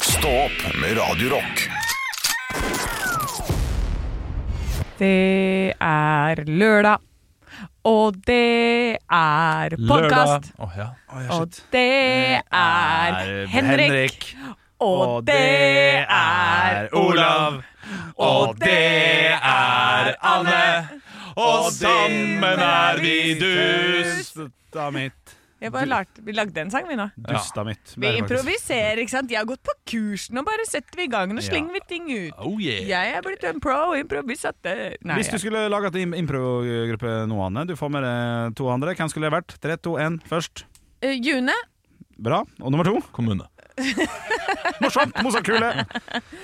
Stå opp med Radio Rock. Det er lørdag, og det er Lørdag. podkast. Åh, ja. Og det er Henrik. Og det er Olav. Og det er Anne. Og sammen er vi dus. Dusta mitt. Jeg bare lagde, vi lagde en sang, vi nå. Dusta mitt. Vi improviserer, ikke sant. Jeg har gått på kurs nå, bare setter vi i gang og slenger vi ting ut. Oh yeah. Jeg er blitt en pro improvisatør. Nei, Hvis du jeg- skulle laga en improgruppe nå, Anne, du får med deg to andre. Hvem skulle det vært? Tre, to, én, først. Eh, June, Bra. Og nummer to? Kommune. Morsomt! Mozartkule!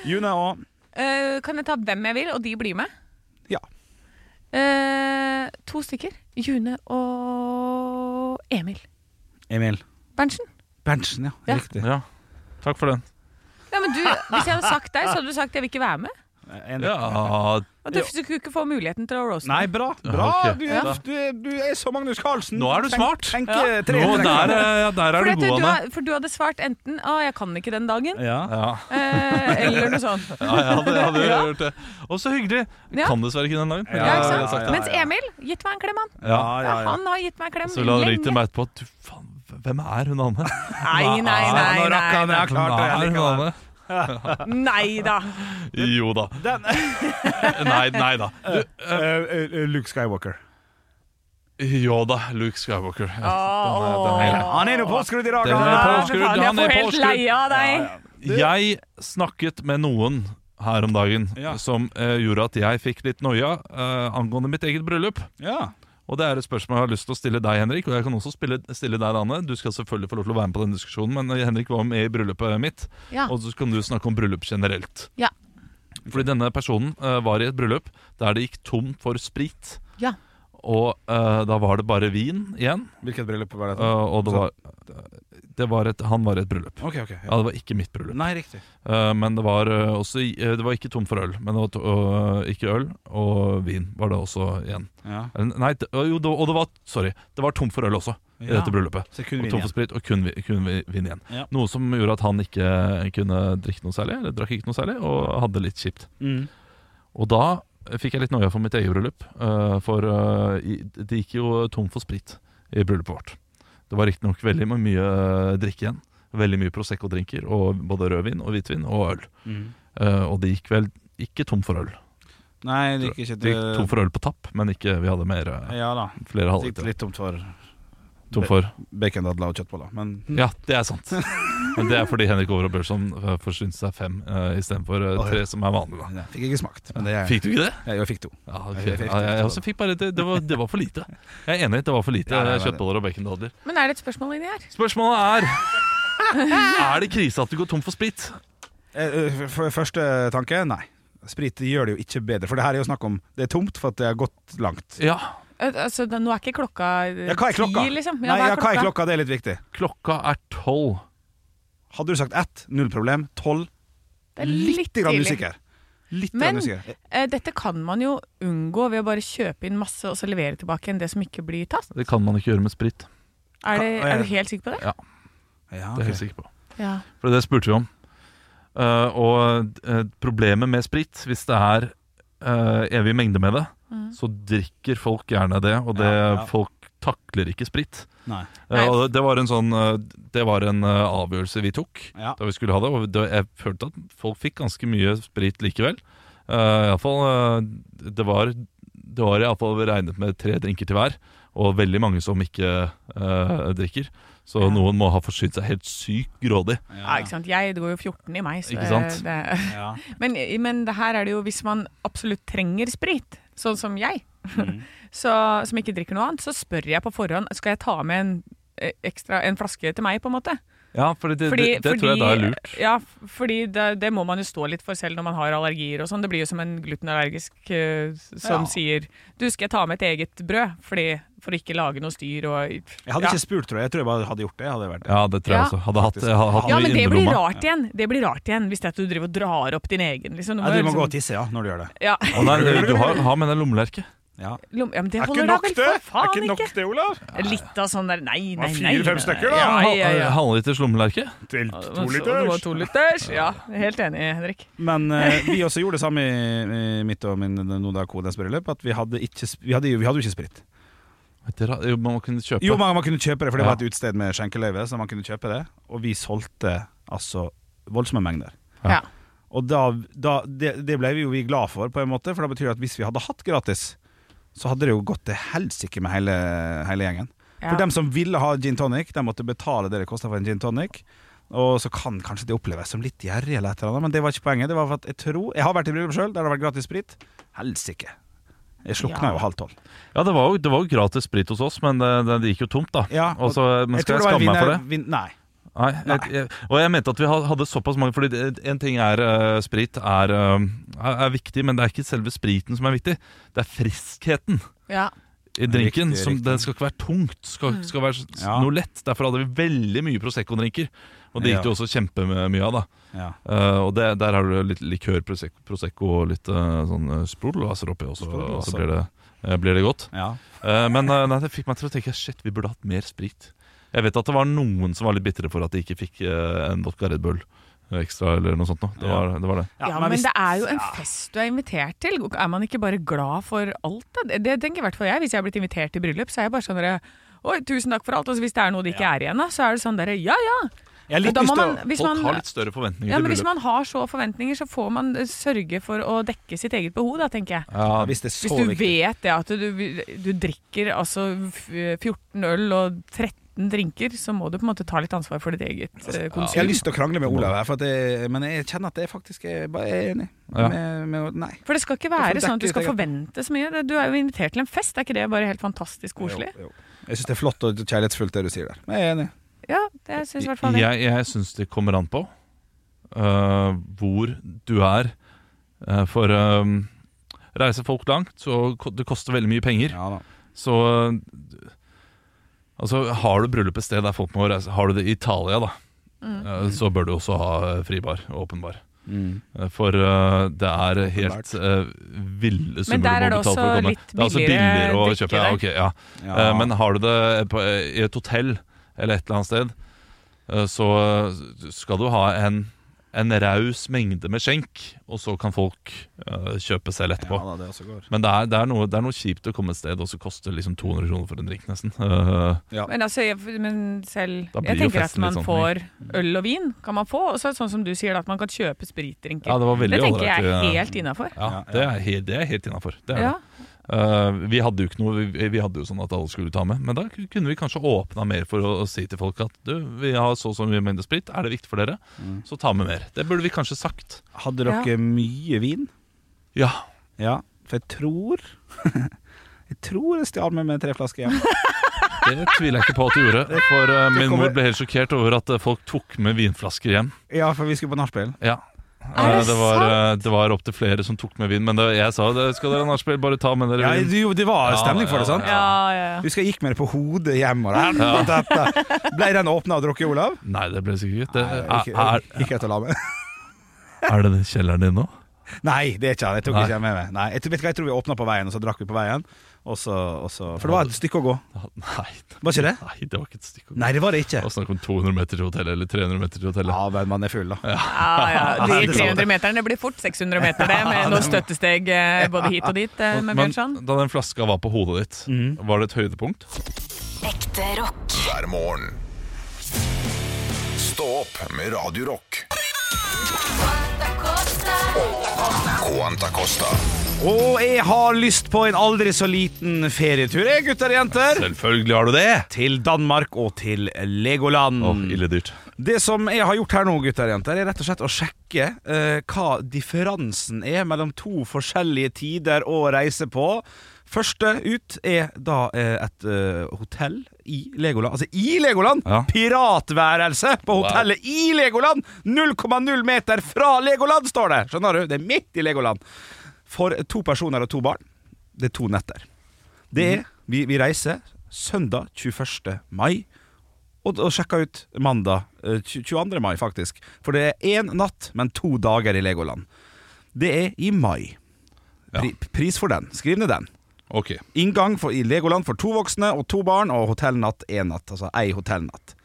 June og eh, kan jeg ta hvem jeg vil, og de blir med? Ja. Eh, to stykker. June og Emil Emil Berntsen. Berntsen, ja. Ja. Riktig. Ja. Takk for den. Ja, men du, hvis jeg hadde sagt deg, så hadde du sagt jeg vil ikke være med. En- Ja, Og du skulle ikke få muligheten til å roaste. Nei, bra! bra. Ja, ok. Du, Ja. er, du, er, du er så Magnus Carlsen. Nå er du smart. Tenk, Ja. tenk, tre, Nå, tre, der, eh, ja, der For, er du du god, Anne. ha- for du hadde svart enten 'Å, jeg kan ikke den dagen', Ja. Ja. eh, eller noe sånt. ja, jeg hadde, jeg hadde gjort det. Og så hyggelig. Ja. Kan dessverre ikke den dagen. men Ja, Ja, jeg ikke hadde sant? sagt det. Mens Emil, gitt meg en klem, han. Ja, Ja. ja, ja. Han har gitt meg en klem Så la han ringe til lenge. meg etterpå. Du, faen, hvem er hun Anne? Nei, nei, Ja, nei. nå rakk nei, han det. nei. Jeg klarte det, jeg Hvem er hun likevel. Anne? nei da. Jo da. Den, Nei, nei da. Du, Eh, eh, Luke Skywalker. jo da, Luke Skywalker. Ja, den er- den er grei. Han er nå påskrudd i dag! Den er han. på- Ja, påskrudd, for faen, jeg han er får helt påskrudd. leie av deg. Jeg snakket med noen her om dagen Ja. som eh, gjorde at jeg fikk litt noia eh, angående mitt eget bryllup. Ja. Og det er et spørsmål jeg har lyst til å stille deg, Henrik. Og jeg kan også spille, stille deg, Anne. Du skal selvfølgelig få lov til å være med på den diskusjonen, men eh, Henrik var med i bryllupet mitt. Ja. Og så kan du snakke om bryllup generelt. Ja. Fordi denne personen eh, var i et bryllup der det gikk tom for sprit. Ja. Og eh, da var det bare vin igjen. Hvilket bryllup var eh, dette? og det var, det var et, han var i et bryllup. Ok, ok. Ja, det var ikke mitt bryllup. Nei, riktig. Eh, Men det var eh, også eh, Det var ikke tom for øl, men det var to, eh, ikke øl og vin var det også igjen. Ja. Eh, Nei, det- jo, det- og det var Sorry, det var tom for øl også i dette bryllupet. Så kun Og vin tom for igjen. sprit og kun, vi- kun vi- vin igjen. Ja. Noe som gjorde at han ikke kunne drikke noe særlig, eller drakk ikke noe særlig, og hadde det litt kjipt. Mm. Og da eh, fikk jeg litt noia for mitt eget bryllup, eh, for eh, i- det gikk jo tom for sprit i bryllupet vårt. Det var riktignok veldig mye eh, drikke igjen. Veldig mye Prosecco-drinker, og både rødvin og hvitvin og øl. Mm. Eh, og det gikk vel ikke tom for øl. Nei, det gikk ikke Det gikk tom for øl på tapp, men ikke, vi hadde mer, eh, Ja da. flere Det gikk halvliter. litt tomt for Tom for bacondadler og kjøttboller. Men Ja, det er sant. Men det er fordi Henrik Over og Bjørnson eh, forsynte seg fem uh, istedenfor uh, Å, ja. tre, som er vanlig. da Nei, fikk ikke smakt. Men det er, Fikk du ikke det? Ja, jeg fikk to. Ja, Jeg ok. fikk- ja, jeg, jeg også fikk bare det, det, var, det var for lite. Jeg er enig, det var for lite Ja, det er veldig- kjøttboller og bacondadler. Men er det et spørsmål inni her? Spørsmålet er Er det krise at du går tom for sprit? Eh, eh, f- f- Første tanke nei. Sprit gjør det jo ikke bedre. For det her er jo snakk om Det er tomt for at det har gått langt. Ja. Eh, Altså, da- nå er ikke klokka eh, Ja, hva er klokka? ti, liksom. Nei, ja, hva er klokka? Det er litt viktig. Klokka er tolv. Hadde du sagt ett, null problem. Tolv, Det er litt grann tidlig. usikker. Litt Men- grann usikker. Eh, Dette kan man jo unngå ved å bare kjøpe inn masse og så levere tilbake igjen det som ikke blir tatt. Det kan man ikke gjøre med sprit. Er, det, Ka- er du helt sikker på det? Ja, Det er jeg helt ok. sikker på. Ja. For det spurte vi om. Eh, og eh, problemet med sprit, hvis det er eh, evig mengde med det, Mm. så drikker folk gjerne det, og det, Ja, ja. folk takler ikke sprit. Nei. Eh, Nei. og det var en sånn eh, Det var en eh, avgjørelse vi tok Ja. da vi skulle ha det, og det, jeg følte at folk fikk ganske mye sprit likevel. Uh, iallfall uh, Det var Det var iallfall regnet med tre drinker til hver, og veldig mange som ikke eh, drikker. Så noen må ha forsynt seg helt sykt grådig. Ja, ikke sant? Jeg, det går jo 14 i meg, så Ikke sant? Det, Ja. men, men det her er det jo hvis man absolutt trenger sprit, sånn som jeg, Mm. så, som ikke drikker noe annet, så spør jeg på forhånd skal jeg ta med en, eh, ekstra, en flaske til meg, på en måte. Ja, fordi det, det, Fordi- det tror jeg fordi- da er lurt. Ja, f- fordi det, det må man jo stå litt for selv når man har allergier og sånn. Det blir jo som en glutenallergisk eh, som Ja. sier du skal jeg ta med et eget brød fordi, for å ikke lage noe styr og Jeg hadde ikke spurt, tror jeg. Jeg tror jeg bare hadde gjort det. Hadde jeg vært det. Ja, det tror jeg Ja. også. Hadde hatt, Faktisk. hadde hatt Ja, noe men i det blir innerlomma. rart igjen. Det blir rart igjen hvis det er at du driver og drar opp din egen. Liksom. Nei, du må liksom- gå og tisse, ja, når du gjør det. Ja. Å nei, du har, har med deg lommelerke. Ja. Lom, ja, men det Er ikke holder da nok vel det? for Er faen ikke ikke! nok det, Olav? Litt av sånn der Nei, var nei, nei. fire-fem nei. stykker, da. Ja, ja, ja. Halvliters lommelerke? Til Ja, det var to så- Det var liters. to liters. Ja, jeg er helt enig, Henrik. Men eh, vi også gjorde det samme i, i mitt og min Noda Kodes bryllup, at vi hadde, ikke, sp- vi, hadde, jo- vi hadde jo ikke sprit. Dere har- jo, Man kunne kjøpe Jo, man, man kunne kjøpe det, for det Ja. var et utested med skjenkeløyve, så man kunne kjøpe det. Og vi solgte altså voldsomme mengder. Ja. Ja. Og da, da, det, det ble vi jo vi glad for, på en måte, for det betyr at hvis vi hadde hatt gratis, så hadde det jo gått til helsike med hele, hele gjengen. Ja. For dem som ville ha gin tonic, de måtte betale det det kosta for en gin tonic. Og så kan kanskje det oppleves som litt gjerrig, eller et eller annet, men det var ikke poenget. Det var for at Jeg tror, jeg har vært i bryllup sjøl, der det har vært gratis sprit. Helsike. Jeg Ja. slukna jo halv tolv. Ja, det var, jo, det var jo gratis sprit hos oss, men det, det, det gikk jo tomt, da. Ja, og så, men skal jeg, skamme meg for det? Vin, nei. Nei, jeg, jeg, og jeg mente at vi ha- hadde såpass mange Fordi det- en ting er eh, sprit er, eh, er, er viktig, men det er ikke selve spriten som er viktig. Det er friskheten Ja. i drinken. Riktig, som, riktig. Den skal ikke være tungt. Mm. Skal, skal være s- Ja. noe lett. Derfor hadde vi veldig mye Prosecco-drinker. Og det gikk det Ja. jo også kjempemye av. da Ja. Eh, Og det, der har du litt likør, Prosecco, Prosecco og litt eh, sånn eh, sprudelaser oppi, og så, Sprudelaser. og så blir, det, eh, blir det godt. Ja. Eh, Men eh, nei, det fikk meg til å tenke Shit, vi burde hatt mer sprit Jeg vet at det var noen som var litt bittere for at de ikke fikk eh, En vodka Red Bull eh, ekstra Eller noe sånt nå. det, var, det var det Ja, men, det er jo en fest du er invitert til. Er man ikke bare glad for alt? da? Det, det tenker i hvert fall jeg. Hvis jeg har blitt invitert til bryllup, så er jeg bare sånn derre Oi, tusen takk for alt. Og så hvis det er noe det ikke er igjen av, så er det sånn derre Ja ja. Jeg Men har litt da må lyst til å man- hvis Folk man- har litt større forventninger Ja, til men Hvis bryllup man har så forventninger, så får man eh, sørge for å dekke sitt eget behov, da, tenker jeg. ja, Hvis det er så Hvis du viktig. vet det at du, du drikker altså f- 14 øl og 13 drinker, så må du på en måte ta litt ansvar for ditt eget eh, Altså, Jeg har konsum. lyst til å krangle med Olav her, for at jeg, men jeg kjenner at jeg faktisk er bare er enig. Ja. Med, med, nei. For det skal ikke Da får du være sånn at du dekke skal ditt forvente så mye. Det- Du er jo invitert til en fest, er ikke det bare helt fantastisk koselig? Jo, jo. Jeg syns det er flott og kjærlighetsfullt det du sier der. Men jeg er enig. Ja, det syns i hvert fall det. Jeg, jeg synes det kommer an på eh, Hvor du er Eh, For eh, Reiser folk langt Så ko- det koster veldig mye penger Ja, da. Så eh, Altså, har du bryllup et sted der folk må reise Har du det i Italia da Mm. eh, Så bør du også ha eh, fribar, åpenbar Mm. Eh, For eh, det er helt eh, ville summer Men der du må betale for å er det også komme. litt Det er også billigere billigere å drikke kjøpe. Ja, ok, ja. Ja. Eh, Men har du det på, eh, i et hotell eller et eller annet sted, eh, så eh, skal du ha en, en raus mengde med skjenk, og så kan folk eh, kjøpe selv ja etterpå. da, det også går. Men det er, det, er noe, det er noe kjipt å komme et sted og så koster liksom 200 kroner for en drink, nesten. Eh, Ja. Men, altså, jeg, men selv Da blir Jeg jo tenker at festen litt man sånn. får øl og vin, kan man få. Og så er det sånn som du sier, da, at man kan kjøpe spritdrinker. Ja, det var veldig det tenker jeg ålreit, er ja. helt innafor. Ja, Ja, det er helt, det er helt innafor. Det er det. Ja. Eh, vi hadde jo ikke noe vi, vi hadde jo sånn at alle skulle ta med, men da ku- kunne vi kanskje åpna mer for å, å si til folk at du, vi har så og så mye mengde sprit, er det viktig for dere, Mm. så ta med mer. Det burde vi kanskje sagt. Hadde dere Ja. mye vin? Ja. Ja. For jeg tror Jeg tror jeg stjal med meg tre flasker hjem. Det tviler jeg ikke på at du gjorde, for eh, min kommer- mor ble helt sjokkert over at eh, folk tok med vinflasker hjem. Ja, for vi skulle på nachspiel. Ja. Eh, Er det det var, eh, det var opptil flere som tok med vin, men det, jeg sa det skal dere nachspiel, bare ta med dere Ja, vin. det, det var Ja, stemning for det, sant? ja, ja, ja, ja. Husker jeg gikk med det på hodet hjem. Og helvete, dette. Ble den åpna og drukket, Olav? Nei, det ble sikkert ikke. Nei, Det- ikke- Er, Ikke etter å la meg. er, er det den kjelleren din nå? Nei, det er ikke han. Jeg tok Nei. ikke han med meg. Nei, jeg, tror- vet du hva, jeg tror vi åpna på veien, og så drakk vi på veien. Og så, og så, for det var et stykke å gå. Nei, Var ikke det? Nei, det var ikke et stykke å gå. Nei, Ah. det var det ikke. Og snakk om 200 meter til hotellet eller 300 meter til hotellet. Ja, men man er full, da. Ja, ja. Nei, De det er sant. 300 meterne blir fort 600 meter, det, med noen støttesteg eh, både hit og dit eh, med Men Bjørnson. da den flaska var på hodet ditt, Mhm. var det et høydepunkt? Ekte rock. hver morgen. Stå opp med Radio Rock. Quanta Costa. Og jeg har lyst på en aldri så liten ferietur, jeg, gutter og jenter. Selvfølgelig har du det! Til Danmark og til Legoland. Åh, ille dyrt. Det som jeg har gjort her nå, gutter og jenter, er rett og slett å sjekke eh, hva differansen er mellom to forskjellige tider å reise på. Første ut er da eh, et eh, hotell i Legoland. Altså i Legoland! Ja. Piratværelse på hotellet i Legoland! 0,0 meter fra Legoland, står det! Skjønner du? Det er midt i Legoland. For to personer og to barn. Det er to netter. Det er Vi, vi reiser søndag 21. mai og, og sjekka ut mandag eh, tju- 22. mai, faktisk. For det er én natt, men to dager i Legoland. Det er i mai. Pri, Pris for den. Skriv ned den. Ok. Inngang for, i Legoland for to voksne og to barn, og hotellnatt én natt. Altså ei hotellnatt.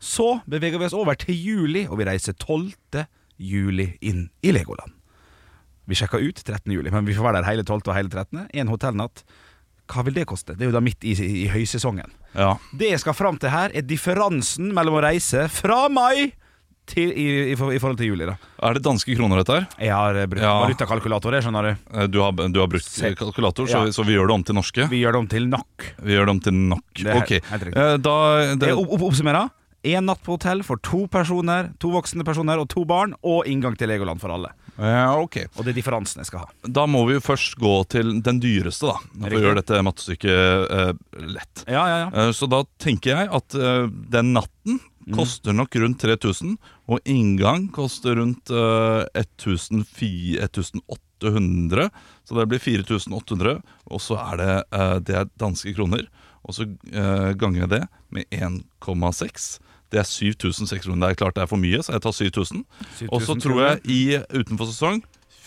Så beveger vi oss over til juli, og vi reiser 12. juli inn i Legoland. Vi sjekka ut 13. juli, men vi får være der hele 12. og hele 13. Én hotellnatt. Hva vil det koste? Det er jo da midt i, i høysesongen. Ja. Det jeg skal fram til her, er differansen mellom å reise fra mai til, i, i, for- i forhold til juli. da Er det danske kroner, dette her? Jeg har eh, brukt Ja. valutakalkulator, jeg, skjønner du. Eh, Du har, du har brukt Selv. kalkulator, så, Ja. så vi gjør det om til norske. Vi, Vi gjør det om til nok. gjør det om til nok. Det er Ok. helt riktig. Eh, Da det, Det opp, opp, oppsummerer. Én natt på hotell for to personer, to voksne personer og to barn, og inngang til Legoland for alle. eh, Ok. Og det er differansen jeg skal ha. Da må vi jo først gå til den dyreste, da. For å Riktig. gjøre dette mattestykket eh, lett. Ja, ja, ja. Mm. Eh, Så da tenker jeg at eh, den natten koster nok rundt 3000, og inngang koster rundt eh, 1004 1800. Så det blir 4800, og så er det, eh, det er danske kroner. Og så eh, ganger jeg det med 1,6. Det er 7600. Det er klart det er for mye, så jeg tar 7000. Og så tror jeg i utenfor sesong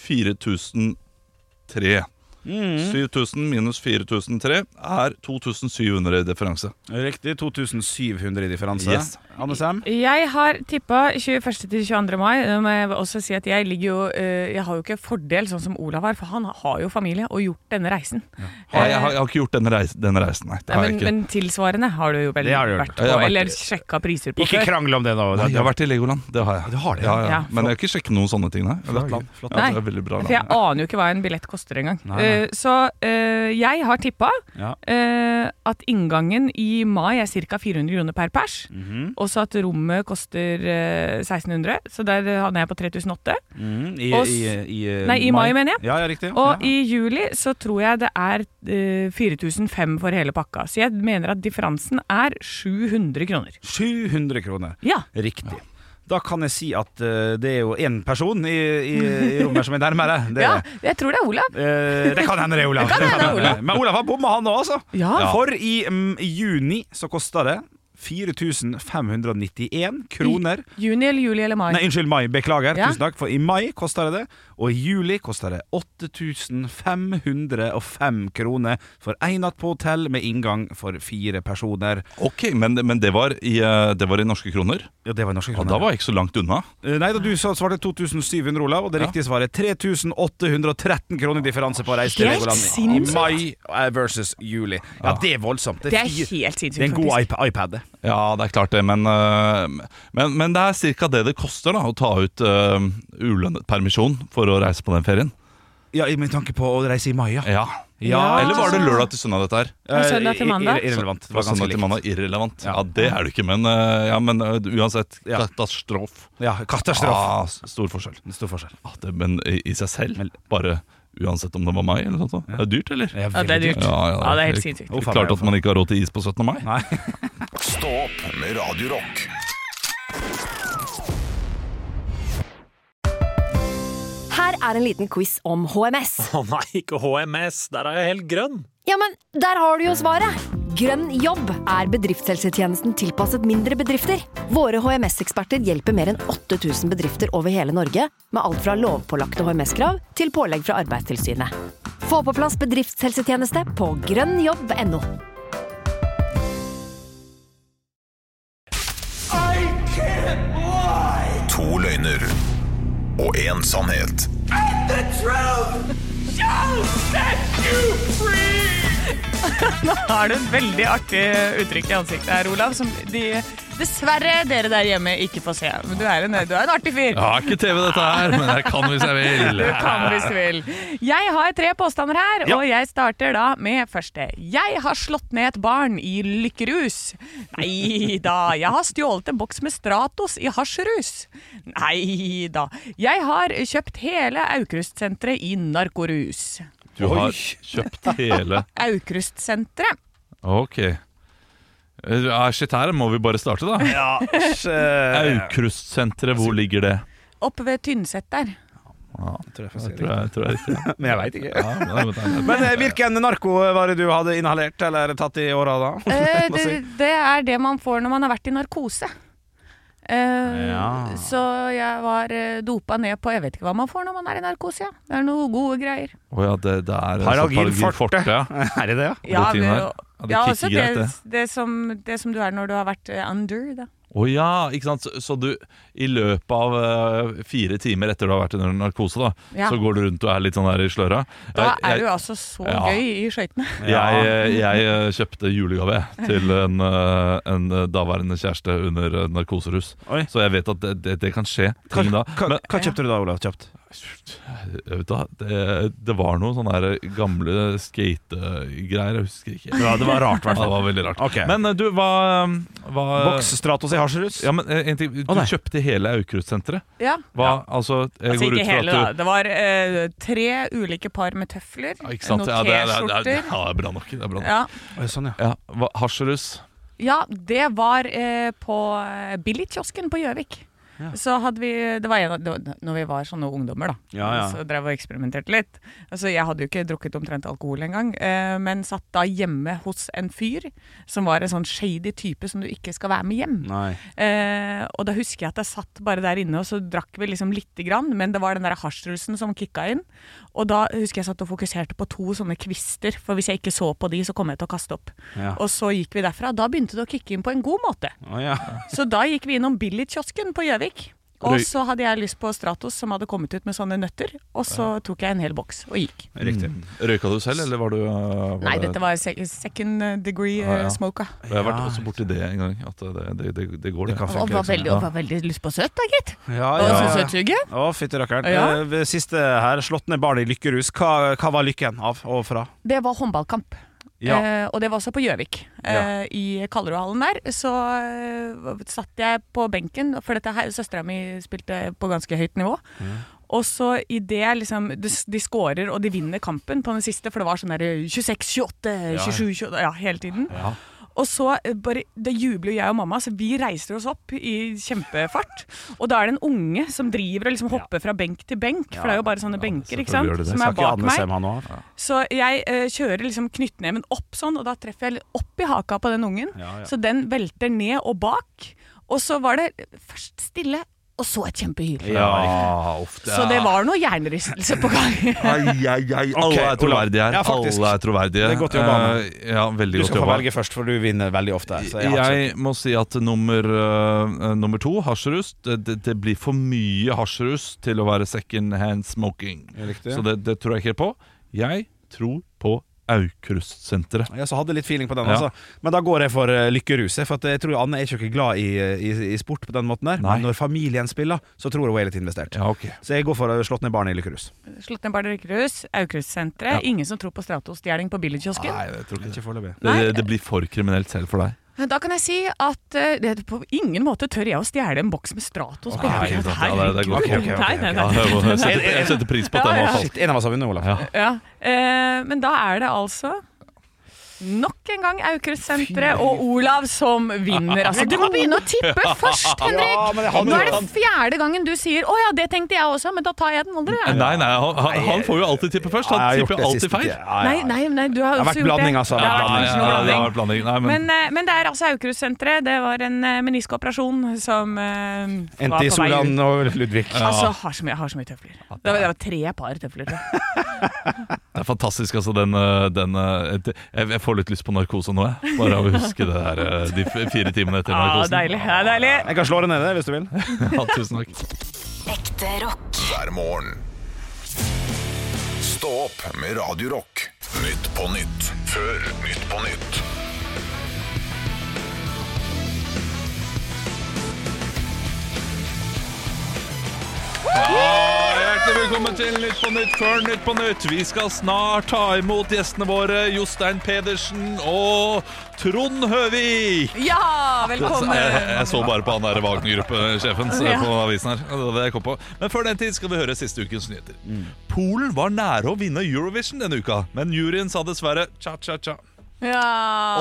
4003. Mm. 7000 minus 4003 er 2700 i differanse. Riktig. 2700 i differanse. Yes. Anne Sem? Jeg har tippa 21. til 22. mai. Nå må jeg også si at jeg ligger jo eh, Jeg har jo ikke fordel sånn som Olav har, for han har jo familie og gjort denne reisen. Nei, jeg, har, jeg har ikke gjort denne reisen, denne reisen nei. Det Nei, har men, jeg ikke. men tilsvarende har du jo vel Det har du gjort. vært Jeg på, har vært- eller sjekka priser på Ikke før. krangle om det nå. Nei, jeg har vært i Legoland. Det har jeg. Du har det, ja, ja. ja. Ja. Men jeg har ikke sjekket noen sånne ting, nei. Flott land, flott Ja, det land. er veldig bra For jeg land. aner jo ikke hva en billett koster engang. Nei, nei. Eh, så eh, jeg har tippa Ja. eh, at inngangen i mai er ca. 400 kroner per pers. Mhm. Og så at rommet koster eh, 1600, så der eh, havner jeg på 3008. Mm, i, Oss- eh, Nei, i mai, mener jeg. Ja, ja, riktig. Og ja. i juli så tror jeg det er eh, 4500 for hele pakka. Så jeg mener at differansen er 700 kroner. 700 kroner. Ja. Riktig. Da kan jeg si at eh, det er jo én person i, i, i rommet som er nærmere. Det, ja, jeg tror det er Olav. Eh, det kan hende det, Olav. hende det er Olav. Men Olav har bomma, han òg, altså. Ja. Ja. For i mm, juni så kosta det 4591 kroner. Juni eller juli eller mai. Nei, unnskyld, mai. Beklager. Ja. Tusen takk. For i mai kosta det det. Og i juli kosta det 8505 kroner for én natt på hotell med inngang for fire personer. Ok, men, men det, var i, eh, det var i norske kroner. Ja, det var norske Ja, kroner. da var jeg ikke så langt unna. Eh, Nei, da du sa- svarte 2700, Olav, og det Ja. riktige svaret er 3813 kroner differanse på reis til Helt Legoland i sinnssykt. mai eh, versus juli. Ja, det er voldsomt. Det er fire- helt sinnssykt, Det er en god faktisk. iP- iPad. det. Ja, det er klart det, men, eh, men, men det er ca. det det koster da, å ta ut eh, ulønnet permisjon for å reise på den ferien. Ja, i- med tanke på å reise i mai, ja. Ja. Ja. Ah, Eller var det sånn, lørdag til søndag, dette her? Fra søndag til Eh, i- mandag? i- Irrelevant. Det Fra var ganske søndag til likt. mandag, irrelevant. Ja. Ja, det er det ikke, men, eh, ja, men eh, uansett, Ja. katastrof. Ja, katastrofe. Ah, stor forskjell. Det er Stor forskjell. Ah, det, men i, i seg selv, bare uansett om det var meg eller noe sånt. da. Det er dyrt, eller? Det er Ja, det er veldig dyrt. Ja, det er helt sinnssykt. Det er Klart at man ikke har råd til is på 17. mai. Nei. Stå opp med Radio Rock. Her er en liten quiz om HMS. Å nei, ikke HMS, der er jeg helt grønn. Ja, men der har du jo svaret! Grønn jobb er bedriftshelsetjenesten tilpasset mindre bedrifter. Våre HMS-eksperter hjelper mer enn 8000 bedrifter over hele Norge med alt fra lovpålagte HMS-krav til pålegg fra Arbeidstilsynet. Få på plass bedriftshelsetjeneste på grønnjobb.no. To løgner og én sannhet. Har du et veldig artig uttrykk i ansiktet her, Olav, som de dessverre dere der hjemme ikke får se. Men du er en, du er en artig fyr. Jeg har ikke TV, dette her, men jeg kan hvis jeg vil. Du kan hvis du vil. Jeg har tre påstander her, og jeg starter da med første. Jeg har slått ned et barn i lykkerus. Nei da. Jeg har stjålet en boks med Stratos i hasjrus. Nei da. Jeg har kjøpt hele Aukrustsenteret i narkorus. Du har kjøpt hele Aukrustsenteret. Ok. Eh, shit, her må vi bare starte, da. Ja, æsj, eh, Aukrustsenteret, hvor ligger det? Oppe ved Tynset der. tror jeg Jeg får si tror det. jeg, tror jeg ikke. Men jeg veit ikke. Ja, men det er- Men eh, hvilken narko var det du hadde inhalert eller tatt i åra da? Eh, det, det er det man får når man har vært i narkose. Eh, Ja. Så jeg var eh, dopa ned på Jeg vet ikke hva man får når man er i narkose. ja. Det er noen gode greier. Å ja, det, det er Paralgin sånn forte. ja. Er det det, ja? Ja, Protein det, her. Ja, og, det ja, kicker også det, greit, det. det, som, det som du er når du har vært eh, under. Da. Å ja, ikke sant? Så, så du, i løpet av eh, fire timer etter du har vært under narkose, da, Ja. så går du rundt og er litt sånn der i sløra? da Jeg- er jeg- du altså så Ja. gøy i skøytene. Jeg, jeg eh, kjøpte julegave til en, eh, en eh, daværende kjæreste under eh, narkoserus. Oi. Så jeg vet at det, det, det kan skje Hva, ting da. hva, Men hva kjøpte du da, Olav? Kjapt? jeg vet da, det, det var noen sånne her gamle skategreier. Jeg husker ikke. Ja, det var rart, i Ja, det var veldig rart. Ok. Men eh, du, hva, eh, hva Boks Stratos i Hasjerus. Ja, men eh, en ting, Du Å, nei. kjøpte hele Aukrustsenteret? Ja. Hva, altså, jeg Altså går ikke ut fra hele, da. at du, Det var eh, tre ulike par med tøfler, Ja, Ikke sant? noen Ja, det, er- det, er- det, er- T-skjorter. ja, det er bra nok. Det er bra nok. Ja. Oi, sånn, ja. Ja, hva- Hasjerus. ja, det var eh, på eh, Billigkiosken på Gjøvik. Ja. Så hadde vi Det var en av det var- Når vi var sånne ungdommer, da. Ja, ja. Så drev og eksperimenterte litt. Altså, jeg hadde jo ikke drukket omtrent alkohol engang, eh, men satt da hjemme hos en fyr som var en sånn shady type som du ikke skal være med hjem. Nei. Eh, og da husker jeg at jeg satt bare der inne, og så drakk vi liksom lite grann, men det var den der hasjrusen som kicka inn. Og da husker jeg satt og fokuserte på to sånne kvister, for hvis jeg ikke så på de, så kom jeg til å kaste opp. Ja. Og så gikk vi derfra. Da begynte det å kicke inn på en god måte. Å, ja. Så da gikk vi innom Billigkiosken på Gjøvik. Og Røy- så hadde jeg lyst på Stratos, som hadde kommet ut med sånne nøtter. Og så tok jeg en hel boks og gikk. Riktig. Røyka du selv, eller var du eh, var Nei, det- dette var se- second degree Ja, ja. eh, smoka. Jeg har vært Ja, også borti det en gang. At det, det, det, det går, det. kan Og funke, var sånn, veldig, liksom. og var veldig lyst på søt, da, gitt. Ja, Og så ja. søtsuget. Å, fytti rakkeren. Ja. Eh, ved Siste her, slått ned barn i lykkerus. Hva, hva var lykken av og fra? Det var håndballkamp. Ja. Eh, og det var også på Gjøvik. Eh, I Kallerudhallen der. Så eh, satt jeg på benken, for dette her søstera mi spilte på ganske høyt nivå. Og så i det liksom de, de scorer og de vinner kampen på den siste, for det var sånn der 26, 28, 27, 28 Ja, hele tiden. Og så eh, bare, da jubler jo jeg og mamma, så vi reiser oss opp i kjempefart. Og da er det en unge som driver og liksom hopper fra benk til benk, for det er jo bare sånne benker ikke selvfølgelig gjør det sant, det. som er Skal ikke bak Anne meg. se meg nå? av? Så jeg eh, kjører liksom knyttneven opp sånn, og da treffer jeg litt opp i haka på den ungen. Ja, ja. Så den velter ned og bak. Og så var det først stille, og så et kjempehyl. Ja, ofte. Så det var noe hjernerystelse på gang. Ai, ai, ai. Alle Ok, er troverdige her. Olav. Ja, faktisk. Alle er troverdige. Det er godt jobba, Anne. Eh, Ja, veldig Du godt skal få jobba. velge først, for du vinner veldig ofte. Så jeg har ikke- Jeg må si at nummer, eh, nummer to, hasjerus, det, det, det blir for mye hasjerus til å være second hand smoking. Riktig. Så det, det tror jeg ikke på. Jeg tror på Aukrustsenteret. Ja, så hadde litt feeling på den, Ja. altså. Men da går jeg for uh, lykkeruset. For at jeg tror Anne er ikke noe glad i, i, i sport på den måten der. Nei. Men når familien spiller, så tror jeg hun er litt investert. Ja, ok. Så jeg går for å slå ned barnet i lykkerus. Slått ned Bardu Røykerhus, Aukrustsenteret. Ingen som tror på Stratos-stjeling på billigkiosken. Nei, jeg tror ikke det. Ikke foreløpig. Det, Nei. det, det blir for kriminelt selv for deg. Da kan jeg si at eh, det, på ingen måte tør jeg å stjele en boks med Stratos. på Nei, Gjøvik. det- det- det går ikke. Herregud. Nei, nei, Ja, nei. jeg, må, jeg, setter, jeg setter pris på at Ja, den ja. var sånn. falt. Shit, en av oss har vunnet, Olaf. Ja. Ja, eh, men da er det altså Nok en gang Aukrust-senteret og Olav som vinner. Altså, du må begynne å tippe først, Henrik! Nå er det sånn- fjerde gangen du sier 'Å ja, det tenkte jeg også', men da tar jeg den andre. jeg». Nei, nei, han, han- han får jo alltid tippe først. Han tipper jo alltid feil. Ja, ja, Nei, ja. nei, nei, du har Det også har vært gjort blanding, altså. Det Det har har vært vært ikke noe det har blanding. vært blanding. Nei, men, Men, eh, men det er altså Aukrust-senteret. Det var en eh, meniskoperasjon som eh, var Endte i på vei ut. Solan og Ludvig. Altså, har så mye, har så mye tøfler. Det var, det var tre par tøfler. tror jeg. det er fantastisk, altså. Den, eh, den eh, det- jeg, jeg får litt lyst på narkose nå, jeg. Bare av å huske det her eh, de f- fire timene etter Ja, narkosen. deilig. Ja, deilig. Jeg kan slå det ned hvis du vil. Ja, tusen takk. Ekte rock. hver morgen. Stå opp med Radio Rock. Nytt på nytt. Før Nytt på nytt. Hjertelig velkommen til Nytt på Nytt før Nytt på Nytt. Vi skal snart ta imot gjestene våre Jostein Pedersen og Trond Høvik. Så Ja, eh, Jeg, velkommen! jeg så bare på han der Wagner-gruppesjefen så på avisen her. Det var det jeg kom på. Men før den tid skal vi høre siste ukens nyheter. Polen var nære å vinne Eurovision denne uka, men juryen sa dessverre cha-cha-cha. Ja.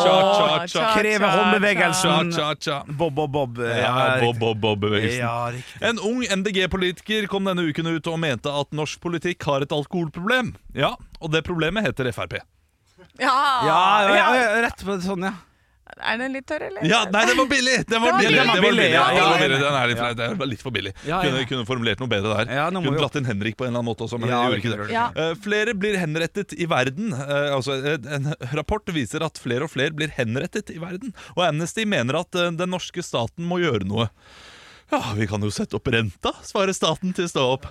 Cha, cha, cha. Kreve håndbevegelsen. Cha-cha-cha. Bob, Bob, Bob. Ja, Bob, Bob, Bob Bevegelsen. Ja, riktig. En ung MDG-politiker kom denne uken ut og mente at norsk politikk har et alkoholproblem. Ja, og det problemet heter Frp. Ja. Ja, ja, ja. ja, rett på det, sånn, ja. Er den litt tørr, eller? Ja, nei, den var billig! Den var var billig, billig. den var billig, den Ja, var ja, billig. ja. Den er litt, den var litt for billig. Ja, ja. Kunne, kunne formulert noe bedre der. Ja, nå må kunne vi- dratt inn Henrik på en eller annen måte også, men jeg Ja, vi gjorde ikke kunne det. gjøre Eh, flere blir henrettet i verden. Eh, altså, en- en rapport viser at flere og flere blir henrettet i verden, og Amnesty mener at eh, den norske staten må gjøre noe. Ja, vi kan jo sette opp renta, svarer staten til Stå opp.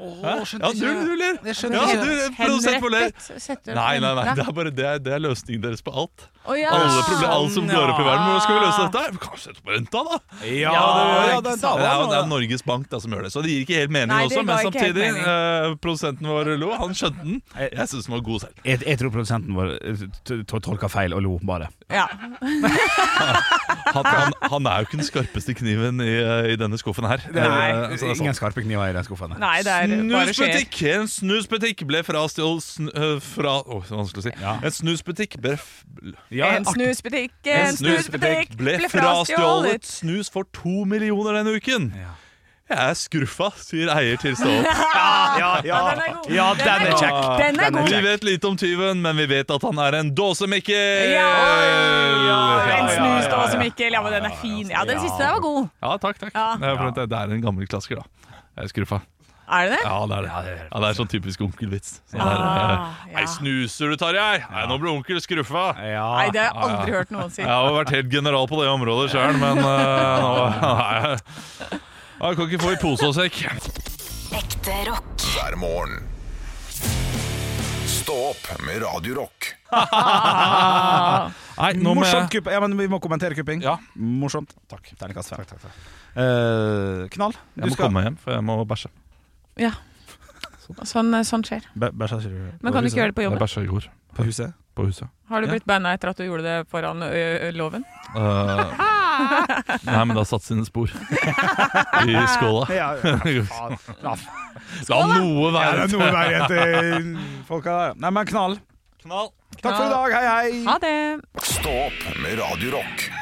Ja, du, du ler. Jeg skjønte Ja, ikke. du, produsent får le. Henrettet, setter du Nei, nei, nei, renta. det er bare det er, det er løsningen deres på alt. Å, ja. Alle problem, alt som går opp i verden. Hvordan skal vi løse Ja. dette? her? Vi kan sette opp renta, da! Ja, Ja, det- det, er, ja, jo- den- det er Norges Bank da, som gjør det, så det gir ikke helt mening Nei, det også. Men ga ikke helt samtidig, mening. eh, produsenten vår lo, han skjønte den. Jeg syns den var god selv. Jeg, jeg tror produsenten vår tolka feil og lo, bare. Ja. Han, han, han er jo ikke den skarpeste kniven i, eh, i denne skuffen her. Nei, Eh, altså, det er sant. ingen skarpe kniver i den skuffen. her. Nei, det er bare skjer. Snusbutikk! En snusbutikk ble frastjålet sn øh, fra Å, det er vanskelig å si. Ja. En snusbutikk ble f Ja, en artig. snusbutikk, en snusbutikk ble frastjålet snus for to millioner denne uken! Ja. Jeg er skuffa, sier eier til Stål. Ja, ja, den er god. ja, den er kjekk. Den er god. Vi vet lite om tyven, men vi vet at han er en dåsemikkel! Ja, ja, En ja, snus ja, da også, ja. Mikkel. Ja, men den er fin. Ja, den siste der var god. Ja, takk, takk. Ja. Det, er for at det- det er en gammel klassiker, da. Jeg er skuffa. Er det det? Ja, det er det. Ja, det er det. Ja, det er sånn typisk onkelvits. Sånn Ah, der, eh, ja. Nei, snuser du, Tarjei? Nei, nå ble onkel skuffa. Nei, Ja. det har jeg aldri hørt noen si. Jeg har jo vært helt general på det området sjøl, men eh, nå nei. Ja, Jeg kan ikke få i pose og sekk. Ekte rock. hver morgen. Stå opp med Radio Rock. Nei, nå må Morsomt jeg kupp. Ja, men vi må kommentere kupping. Ja. Morsomt. Takk. Terningkast fem. Eh, knall. jeg må komme hjem, for jeg må bæsje. Ja. Sånn, sånn skjer. Men kan du ikke gjøre det på Jeg jobben? bæsja i går. på huset? På huset. Har du Ja. blitt banna etter at du gjorde det foran ø, ø, loven? Eh, nei, men det har satt sine spor i skåla. Ja, La noe det være. er noe verre etter folka der. Nei, men knall. Knall. Takk for i dag. Hei, hei. Ha det! Stå opp med Radio Rock.